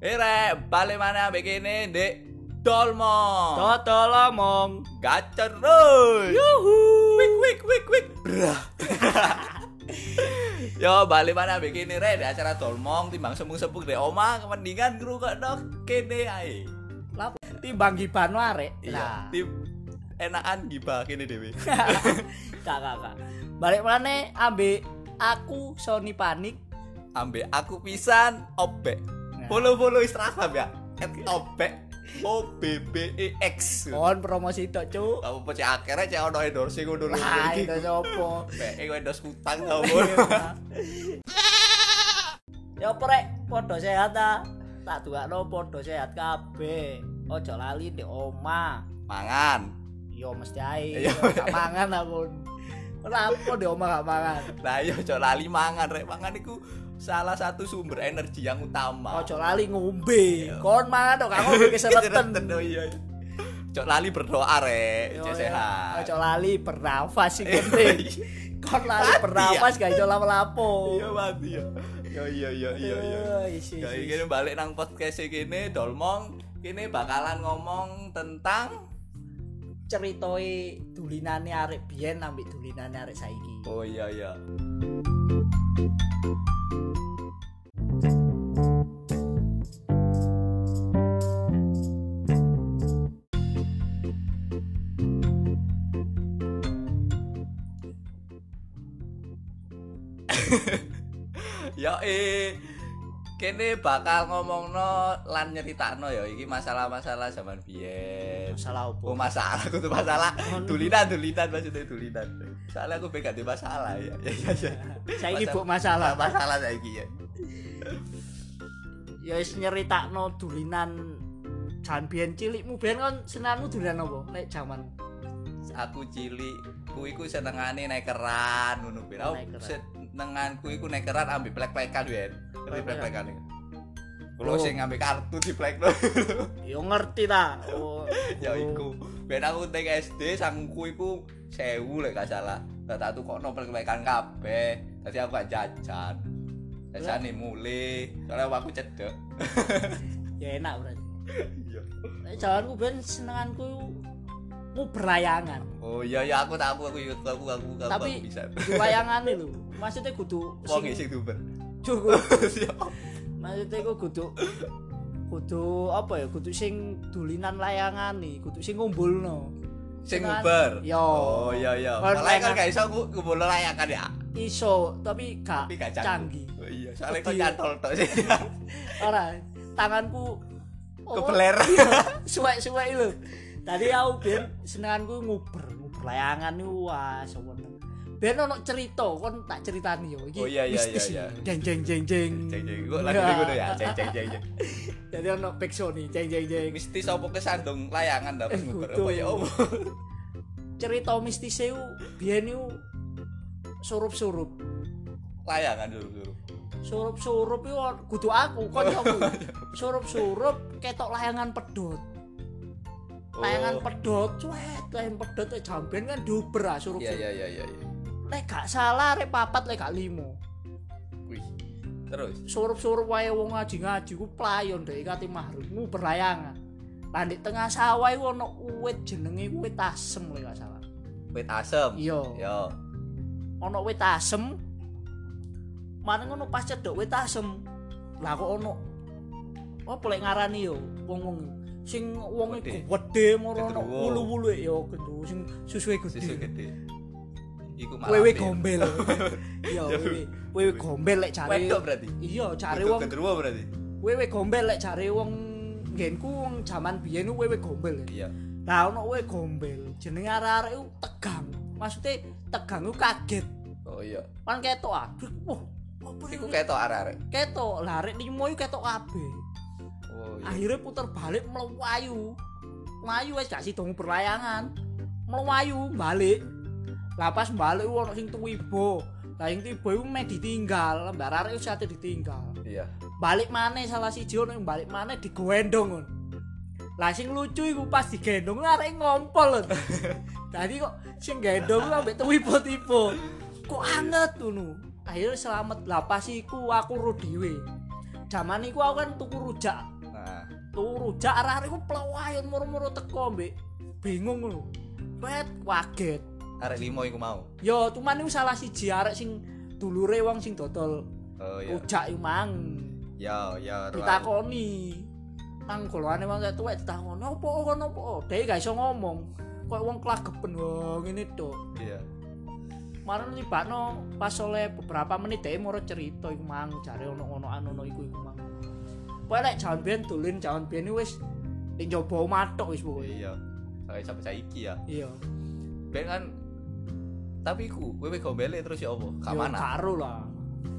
Ire, Eh, balik mana begini di Dolmo. Toto lomong. Gacor terus. Yuhu. Wik wik wik wik. Brah. Yo balik mana begini re di acara Dolmong timbang sempung-sempung di oma kemendingan guru kok dok kene ae. Lap timbang giban warek. Iya, tim enakan gibah kene dhewe. Kak kak kak. Balik mana ambil aku Sony Panik. Ambek aku pisan obek. Nah. Follow-follow Instagram ya. At obek. O B B E X. Mohon promosi itu cu. Kamu pecah akhirnya cek ono endorse iku dulu. Wah itu sopo. Bek, iku endorse utang tau. Yo prek, podo sehat ta. Tak dukakno podo sehat kabeh. Ojo lali di oma. Mangan. Yo mesti ae. Iya. Gak mangan aku. Lapo di oma gak mangan. Lah iya ojo lali mangan rek. Mangan iku salah satu sumber energi yang utama. Ojo lali ngombe. Kon mangan tok kamu bikin Keseretan, sereten. oh iya. iya. Ojo lali berdoa rek, Yo, cek yo. sehat. Ojo lali bernafas sing penting. Kon lali Mati, bernafas gak iso lapo-lapo. Iya mati ya. Yo yo yo yo yo. Eh, isi, Ya isi. iki balik nang podcast iki kene Dolmong kene bakalan ngomong tentang Ceritoi dulinane arek biyen ambek dulinane arek saiki. Oh iya iya. Yo eh kene bakal ngomongno lan nyeritakno ya iki masalah-masalah zaman biyen. Salah opo? Oh masalah, aku tuh masalah Oh, lu- Dulinan, dulinan maksudnya dulinan Soalnya aku pengen di masalah ya Ya ya ya Saiki Masalah- buk masalah. Masalah saya ya Ya wis nyeritakno dulinan jan biyen cilikmu biyen kon senanmu dulinan opo? Nek jaman Aku cilik Ku iku senengane naik keran Ngono bin Aku Naik keran. senenganku iku naik keran ambil plek-plekan ben Ngerti plek-plekan Plek-plekan. ya Kulo Oh. sing ngambil kartu di plek lo yo ngerti ta. Oh, Ya iku Ben aku tek SD sangku iku Sewu lek gak salah Tak tuh kok plek-plekan kabeh Tadi aku gak jajan Jajan nih mulai Soalnya aku cedek Ya enak berarti. Iya. Nek jalanku biyen senenganku mu berayangan. Oh iya iya aku tak aku aku ikut aku aku aku Tapi aku bisa. Wayangane lho. Maksudnya kudu Wong sing duper. cukup. Iya. Maksudnya ku kudu kudu apa ya? Kudu sing dulinan layangan nih, kudu sing ngumpulno. Sing Tenan. Uber. Yo. Oh iya iya. Kon Malah kan layangan. gak iso aku kumpul layakan ya. Iso, tapi gak, Tapi gak canggih. canggih. Oh iya, soalnya kok Iya. nyantol tok sih. Ora, tanganku oh, Kebeler. Suwek-suwek lho. Tadi aku ben senenganku nguber, nguber layangan niku wah seweneng. Ben ono cerita, kon tak ceritani yo iki. Oh, iya, iya, mistis iya, iki. Jeng jeng jeng jeng. Cek Iya. cek kok lagi ngono ya. Cek cek cek cek. Jadi ono backsound nih, jeng jeng jeng. Mistis apa kesandung layangan dapat Eh, Uber kudu. apa ya opo. cerita mistis itu biyen itu surup-surup Layangan dulu-dulu. surup-surup itu kudu aku kancaku surup-surup ketok layangan pedot Oh. layangan pedot cuet layangan pedot eh, jamben kan duber ah surup Iya surup iya iya iya. iya. lek gak salah rek papat lek gak limo Wih. Terus. surup-surup wae wong ngaji-ngaji ku playon dek kate mahrummu berayangan Lah di tengah sawah itu ono uwit jenenge uwit asem lek gak salah Wit asem. iya Yo. ono wit asem maring ngono pas cedok wit asem lah kok ono apa lek ngarani yo wong-wong sing wong Gede. iku wedhe moro ono Genderuwo. wulu-wulu yo gendru sing susuwe Susu gede gede. Iku malah. wewe pir. gombel yo wewe wewe gombel lek cari Wedok berarti. iya cari Wedok wong genderuwo berarti. wewe gombel lek cari wong nggenku wong jaman biyen ku wewe gombel Iya. lah ono wewe gombel jenenge arek-arek ku tegang maksudnya tegang ku kaget Oh iya. pan ketok ah Duk, wah apa Iku ini? ketok arek-arek. ketok larik limo iku ketok kabeh Oh iya. akhirnya puter balik melayu melayu wes gak sidong berlayangan melayu balik lapas balik ono sing tuwibo lah sing tuwibo iku meh ditinggal mbak arek wis ate ditinggal Iya. balik mana salah siji ono yang balik mana digoendong on Lah sing lucu iku pas digendong arek ngompol lho. Tadi kok sing gendong ku ambek tipe-tipe. Kok anget ngono. Akhirnya selamat lah pas iku aku ro dhewe. Jaman iku aku kan tuku rujak. Nah, Tuku rujak arek-arek ku plewayon muru-muru teko mbek bingung ngono. Pet kaget. arek limo iku mau. Yo cuman iku salah siji arek sing dulure wong sing dodol Oh iya. rujak iku mang. Ya, ya. ro aku. ditakoni nang golongan wong tuwek ditakoni opo kono opo dhewe gak iso ngomong koyo wong klagepen wong ngene to Iya. marang tibakno pas oleh beberapa menit dhewe moro cerita iku mang jare ono onoan ono iku iku mang kowe lek jaman biyen dolen jaman biyen ini wis ning coba matok wis pokoke Iya. Sampai sampai saiki ya. iya Ben kan tapi ku wewe gombele terus ya opo? Ka Yo, mana? karo lah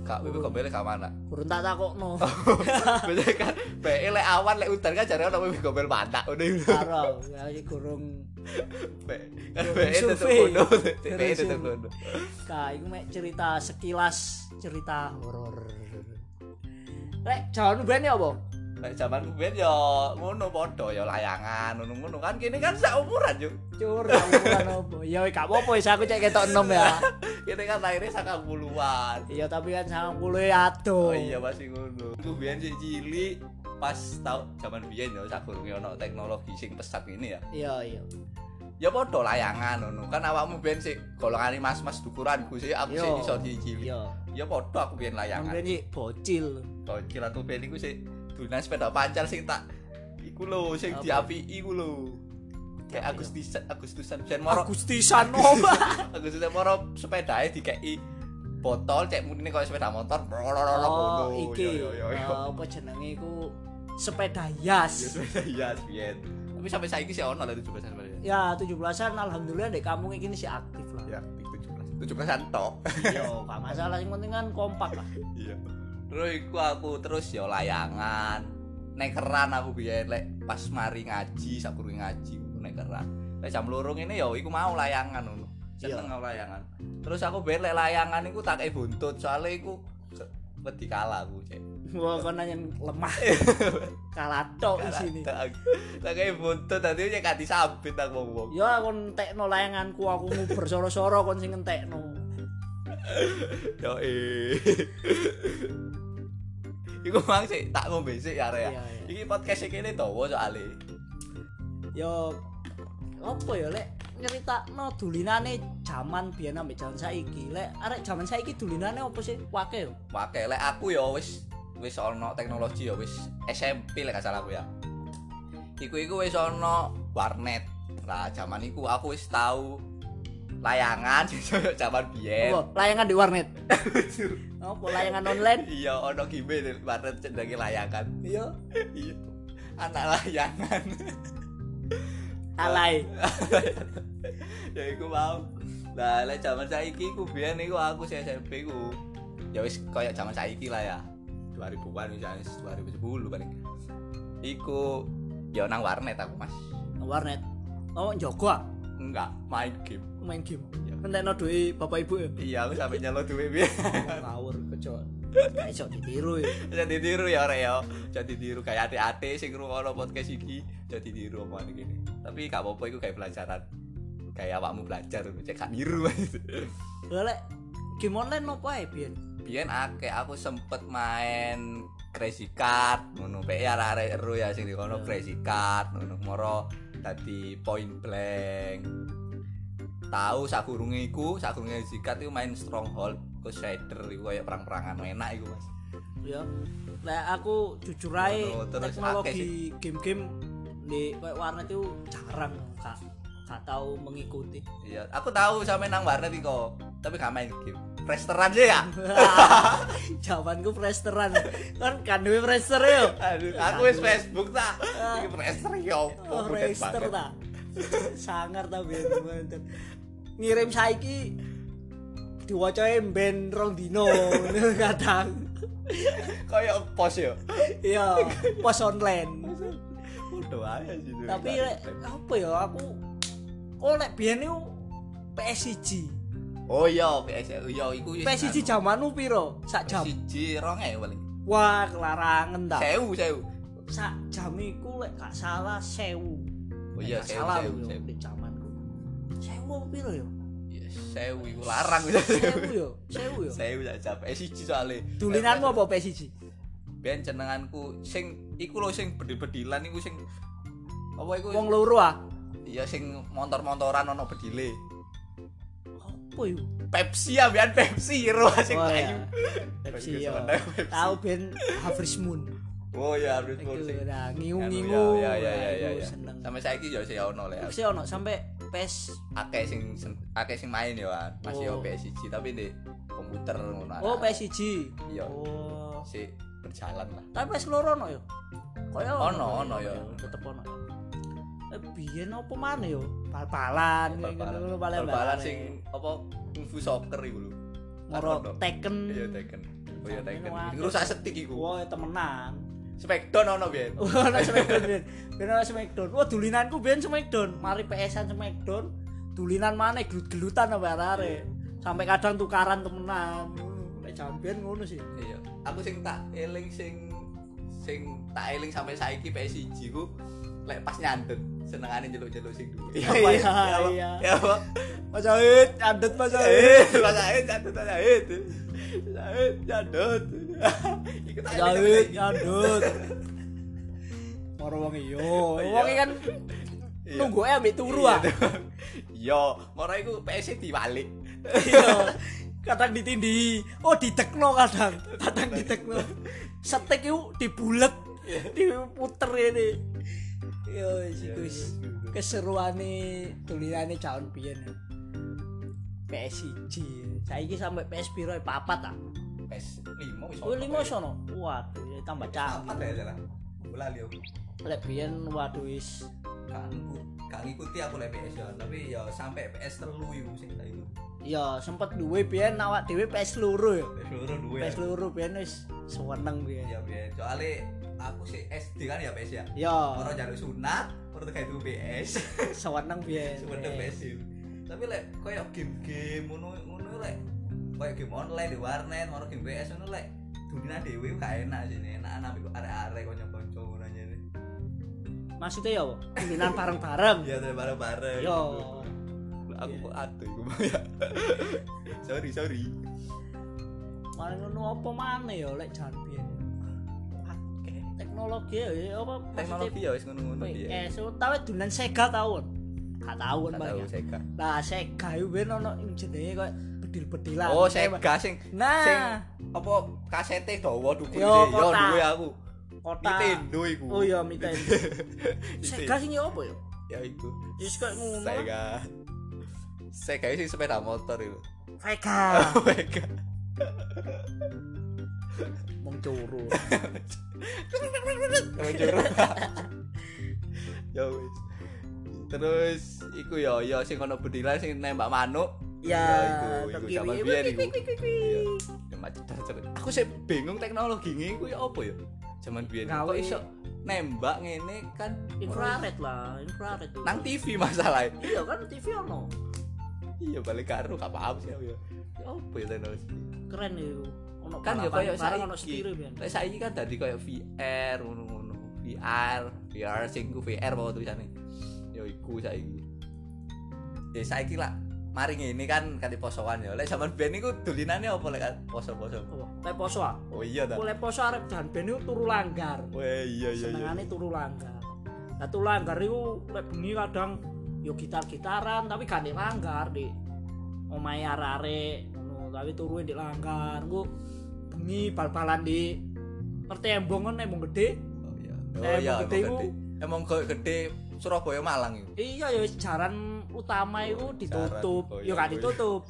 Kak wewe gombele ka mana? kurang tak takokno Biasanya kan bae lek awan lek udan kan jare ono wewe gombel pantak udah. karo ya iki gurung Bae. Kan Yo, bae tetep survei. kono. Yo, Bae tetep survei. kono. Nah, iku mek cerita sekilas cerita horor. Lek jalan ben ya apa? Lek jaman kuwi ya ngono padha ya layangan ngono-ngono kan kene kan sak umuran yo. Cur, ukuran apa? Ya weh, gak apa-apa wis aku cek ketok 6 ya. Kene kan lahirnya saka puluhan. Iya tapi kan 90 ya Oh aduh. iya masih ngono. Aku biyen sih cilik pas tau zaman biyen ya sakurunge ono teknologi sing pesat ini ya. Iya iya. Ya padha layangan ngono. Kan awakmu biyen sik golongane mas-mas dukuran sih aku sih Yo. iso cilik. Iya. Ya padha aku biyen layangan. Sampeyan iki bocil. Gokil aku biyen iku sik dunan sepeda pancal sing tak iku lho sing Apa? diapiki iku lho. Kayak Apa ya? Agustusan Agustusan Jan Moro. Agustisan opo? Agus itu moro sepedae dikeki botol cek murine koyo sepeda motor. Oh, ngono. iki. Yo, yo, yo, yo. eh, Apa jenenge iku sepeda hias. sepeda hias biyen. Tapi sampai saiki sih ono lah 17-an sebenarnya. Ya 17-an alhamdulillah dek kampung iki sih aktif lah. Ya, 17. 17-an tok. Iya, gak masalah sing penting kan kompak lah. Iya. Terus iku aku terus ya layangan. Nek keran aku biyen lek pas mari ngaji, sakurunge ngaji aku nek keran. Lek jam loro ngene ya iku mau layangan ngono. Seneng aku layangan. Terus aku biyen lek layangan iku tak kei buntut soalnya iku se- wedi kalah aku cek. Wah, kono yang lemah. Kalah tok Kalah isine. tok aku. Tak kei buntut tadi cek gak disabit aku wong-wong. Ya kon tekno layanganku aku nguber soro-soro kon sing entekno. Yo eh. Iku mang sik tak ngombe sik ya Iya, Rek. iya. Iki podcast iki kene dawa soalé. Ya apa ya lek nyeritakno dulinane jaman biyen ambek jaman saiki. Lek arek jaman saiki dulinane apa sih? Wake yo. Pakai lek aku ya wis wis ono teknologi ya wis SMP lek gak salah aku ya. Iku iku wis ono warnet. Lah jaman iku aku wis tau layangan koyo jaman biyen. Apa layangan di warnet? apa layangan online? Iya ono gibe di warnet cendangi layangan. Iya. Iya. Anak layangan. Alay. ya iku mau lah lek jaman saiki ku biyen iku aku sing SMP ku ya wis koyo jaman saiki lah ya 2000-an misalnya 2010 paling iku ya nang warnet aku mas Warnet. Oh, njogo ah, enggak main game main game. Iya. Entekno duwe bapak ibu ya. iya aku sampe nyelo duwe biyen Ngawur kecok. Gak iso ditiru ya. jadi ditiru ya rek ya jadi ditiru kayak ati-ati sing ngrungokno podcast iki jadi ditiru omongan gini tapi gak apa-apa iku kayak pelajaran kayak awakmu belajar cek gak niru Lah lek game online apa ae biyen? biyen akeh aku sempet main crazy card ngono pe ya arek ero ya sing Hmm. dikono crazy card ngono moro dadi point blank tahu sakurunge iku sakurunge crazy card iku main stronghold crusader iku koyo perang-perangan enak iku Mas ya nah aku jujur aja Ngono, terus akeh sih. teknologi game-game di kayak warnet itu jarang kak gak tahu mengikuti iya aku tahu sampe nang warnet iku tapi gak main game restoran sih ya jawabanku presteran kan kan duwe prester yo aduh aku wis Facebook ta iki rester yo Ah. oh prester ta sangar ta ben mantep ngirim saiki diwacae ben rong dino ngono kadang koyo pos yo iya pos online Udah aja sih duwe tapi lek, warnet. apa ya aku oh lek biyen niku PS1 Oh iya, PS iya iku wis PS1 anu. jamanmu piro sak jam Siji 2000 paling. wah kelarangan ta 1000 1000. sak jam iku lek gak salah 1000. Oh iya, Lek gak sewu, salah sewu, yo sewu. di zamanku. 1000 apa piro yo? Ya, sewu iku larang bisa sewu. 1000 yo, 1000 yo. Sewu tak jawab. Eh siji soalé. Tulinanmu apa P1? Ben jenenganku sing iku lho sing bedil-bedilan iku sing apa iku? Wong loro ah. Ya sing motor-motoran ono bedile. Apa yo? Pepsi ambean Pepsi ro sing Oh, payu. ya. Pepsi Bagus yo. banget, Pepsi. Tahu ben Havris Moon. Oh ya, Abdul Iku Mursi. nah, Anu, ngiung-ngiung. Ya ya ya nah, ya. iku ya. Seneng. Sampai saiki yo sih ono lek. Wis ono E sampe PES. akeh sing sen- akeh sing main ya Wan. masih Oh. oh. PS1 tapi di komputer ngono Oh, anak-anak. PS1. Iya. Oh. si berjalan lah Tapi PS loro ono yo. Kaya Ono, ono yo. Tetep ono. Eh biyen opo maneh yo? Bal-balan kayak Bal-balan. ngono lho paling bal-balan sing apa kungfu soccer iku lho moro Apa, no? Tekken. iya Tekken oh iya Sampai Tekken no, akeh. rusak setik iku Wah, Oh. temenan. Smackdown ono biyen Ono Smackdown ben. Ben ono Smackdown. Wah, dulinanku ben Smackdown. Mari PS-an Smackdown. Dulinan maneh gelut-gelutan apa arare. Sampai kadang tukaran temenan. Hmm, Nek jamben ngono sih. iya aku sing tak eling sing sing tak eling sampai saiki PS1 ku lek pas nyandet senengane njeluk-njeluk sing duwe Iya, iya, iya. ya apa Mas Zahid, adet Mas Eh, Mas Said, jadut, Mas Said. Mas Said, jadut. Iku tak eling sampai Jahit, saiki. nyadut. Moro wong iyo. Iya. Wong iki kan Iya. nunggu ae ambek turu ah. Yo, moro iku PS dibalik. Iya. Kadang ditindi, oh ditekno kadang. Kadang ditekno. Setek iku dibulet, diputer ini. Yo wis iku wis. keseruane tulisane calon biyen. PS1. Saiki sampe PS piro? ya? Papat ah. PS 5 wis. Oh lima sono. Waduh, ya tambah cah. Apa ya jalan? Bola liyo. Lek biyen waduh wis Gak ngikut- gak ngikuti aku lek PS yo, tapi yo sampai PS telu iku sing tak iku. Ya sempet duwe biyen awak dhewe PS loro ya. PS loro duwe. PS loro biyen wis seneng biyen. Ya biyen. Soale aku sih SD kan ya PS ya. Ya, Moro jaluk sunat, moro tekan itu PS. seneng biyen. Sebenarnya PS yo. Tapi lek koyo game-game ngono ngono lek koyo game online di warnet, moro game PS ngono lek dunia dewe gak enak sih enak anak iku arek-arek kanca-kanca ngono aja. Maksudnya ya, apa? kulinan bareng-bareng. Iya, tapi bareng-bareng. Yo. Iya. Aku kok atuh iku ya. sorry, sorry. Malah ngono apa maneh ya lek jan biyen. Akeh teknologi ya, ya apa Teknologi ya wis ngono-ngono dia. PS utawa dolan Oh, Sega taun. Gak taun Gak tahu banyak. Sega. Lah Sega iku biyen ono ing jenenge koyo bedil-bedilan. Oh, Sega sing sing Nah, apa kasete dawa dukun Yo, sih. Yo kotak. duwe aku. kota. Nintendo iku. Oh iya, Nintendo. Sega Sega. sing ya apa ya? Ya iku. Wis koyo ngono. Sega. Sega sing sepeda motor Oh itu. Sega. Sega. Wong curu. Emang jorok. Ya wis. Terus iku ya ya sing ono bedilan sing nembak manuk. Ya, iku tok iku zaman kiri. biyen Wik, iku. wik, wik, wik. Iya. Nembak cedar, cedar. Aku sih bingung teknologi ngene iku ya apa ya? Zaman biyen Gawe- kok iso nembak ngene kan Infrared lah, infrared. itu. nang TV masalahnya. Iya kan TV ono. Iya balik karo gak paham sih aku ya. Ya apa ya teknologi? Keren itu. Ono Kan ya koyo balapan bareng saiki. ono setire ben. Lek saiki kan dadi koyo VR ngono-ngono. VR, VR sing ku VR apa tulisane. Ya iku saiki. Ya saiki lah mari ngene kan kali posoan ya. Lek zaman ben iku dolinane apa lek kan? poso-poso. Oh, lek poso ah. Oh iya ta. Mulai poso arep dan ben itu turu langgar. Weh iya iya iya. Senengane turu langgar. Lah turu langgar iku lek bengi kadang yo gitar-gitaran tapi gak ndek langgar, Dik. Omahe arek-arek ngono, tapi turu ndek langgar. Ku bengi bal-balan di pertembongan nembong gede. Oh iya. Eh, Oh iya emang emang gede iku. gede. Emang koyo gede Surabaya Malang iku. Iya ya jaran utama iku Oh, ditutup. jaran. Oh, Yo iya, gak iya. ditutup.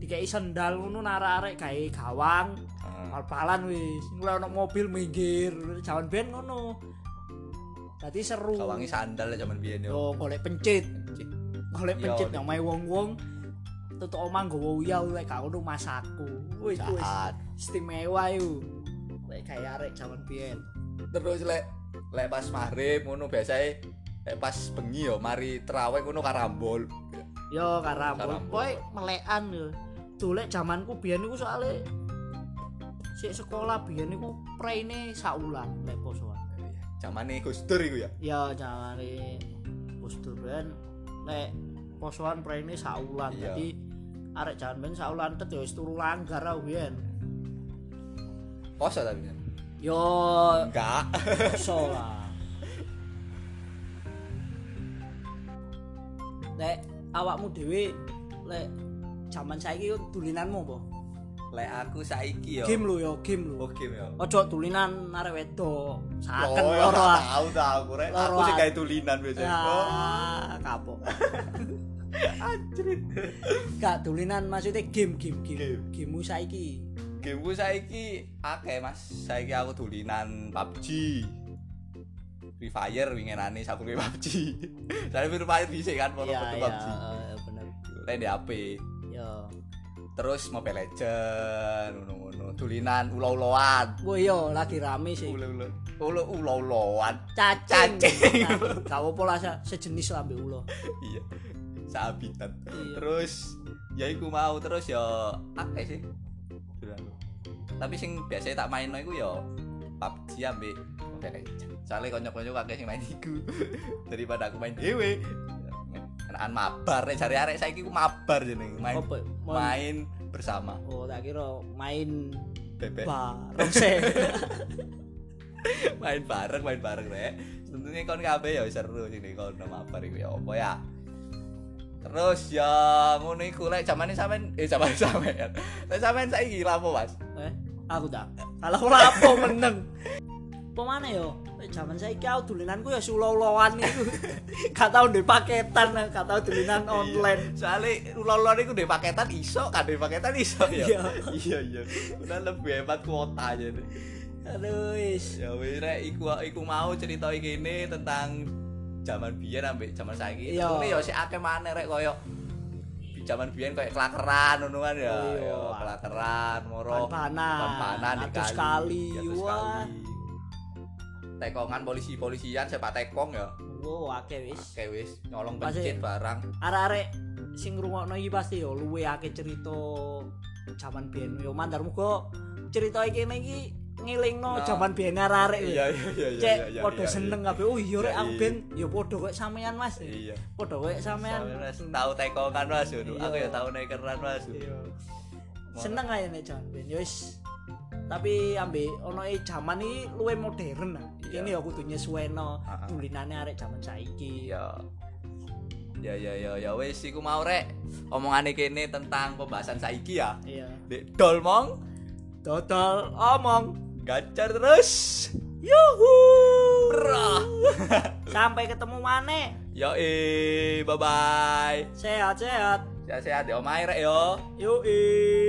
Dikei sendal ngono nang arek-arek gawe gawang. Heeh. bal-balan wis mulai ono mobil minggir jalan ben ngono dadi seru Kawangi sandal lek zaman biyen yo. yo golek pencit golek Yo, pencit nek- nang omahe wong-wong tutuk omah nggawa uyah lek gak ono masaku wis wis Saat. istimewa yo lek kaya arek jaman biyen terus lek lek pas maghrib ngono biasanya lek pas bengi yo mari terawih ngono karambol yo karambol Karambol. koe melekan yo dolek jamanku biyen iku soalé sik sekolah biyen iku preine sak wulan lek posoan Zamane Gus Dur iku ya. ya jaware postur ben nek posoan prene saulan Iya. jadi arek jalan ben saulan tet ya wis turu langgar aku biyen Poso tapi. yo Enggak. poso lah nek awakmu dhewe lek jaman saiki yo tulinanmu apa Lek aku saiki yo. game lu yo game lu Oh, game yo. ojo tulinan arek wedok saken Oh, ya loro gak ah. tahu ta aku rek. Loro Aku sih aku. kayak tulinan biasanya. Oh, Ah, kapok. Gak tulinan maksudnya game game game. Game. Gamemu saiki. gameku saiki akeh Mas. Saiki aku tulinan PUBG. Free Fire wingenane aku main PUBG. Saya Free Fire bisa kan foto Iya, iya, PUBG. eh, bener. Lek di HP. Yo. Terus Mobile Legend ngono-ngono. Tulinan ulo-uloan. Wo yo lagi rame sih. Ulo-ulo. Ulo ulo-uloan. Cacing. Cacing. Cacing. Gak apa-apa lah se- sejenis lah mbek ulo. iya sahabitan Iya. terus ya iku mau terus ya akeh sih Dulu. tapi sing biasanya tak main iku ya PUBG ambek ya, Mobile Legends soalnya konyol-konyol akeh sing main iku daripada aku main dhewe kenaan mabar nek cari arek saiki ku mabar jeneng main Apa? Oh, Main. main bersama Oh, tak kira main bebek bareng sih. main bareng main bareng rek tentunya kon kabeh ya seru sing ning kono mabar iku ya apa ya terus ya ngono iku lek zamane sampean eh zamane sampean lek sampean saiki lapo Mas Eh, aku dah. Kalau ora apa meneng. Apa mana yo? Eh, Jaman saiki aku dolinanku ya sulau-ulauan iku. Gak tau ndek paketan, gak tau dolinan online. Iya. soalnya ulon-ulon iku ndek paketan iso kan ndek paketan iso Iya. ya iya iya udah lebih hebat kuota aja deh. Aduh, wis. ya wis rek iku iku mau cerita kene tentang zaman biyen ambek zaman saiki Iya. Tentunya ya sik akeh maneh rek koyo di zaman biyen koyo kelakeran ngono kan ya Iya. ya kelakeran moro Ban-banan. ban-banan Atus kali, atus wah. kali. tekongan polisi-polisian sepak tekong ya Wo, akeh wis. kayak wis nyolong Pasti. pencet barang Arek-arek sing ngrungokno iki pasti yo luwe akeh cerita jaman biyen. Yo mandar muga cerita iki kene iki ngelingno Nah. jaman biyen arek-arek. iya iya iya iya iya, Cek iya, padha iya. seneng kabeh. Oh iya rek Iya, aku iya. ben yo padha kok sampean Mas. iya Padha kok sampean. Sampe Mas, tahu tekongan mas ngono. Iya. aku ya tahu nekeran mas seneng aja nek John Ben yo wis tapi ambe ono e jaman iki luwe modern lah Iya. ini ya kudu nyesueno Ah, ah. tulinane arek jaman saiki Iya. Ya ya ya ya wis iku mau rek. Omongane kene tentang pembahasan saiki ya. iya Dek dol mong, dodol omong gacor terus. yuhu Bro. sampai ketemu maneh Yo eh, bye bye. sehat-sehat Sehat-sehat ya omae rek yo. yoi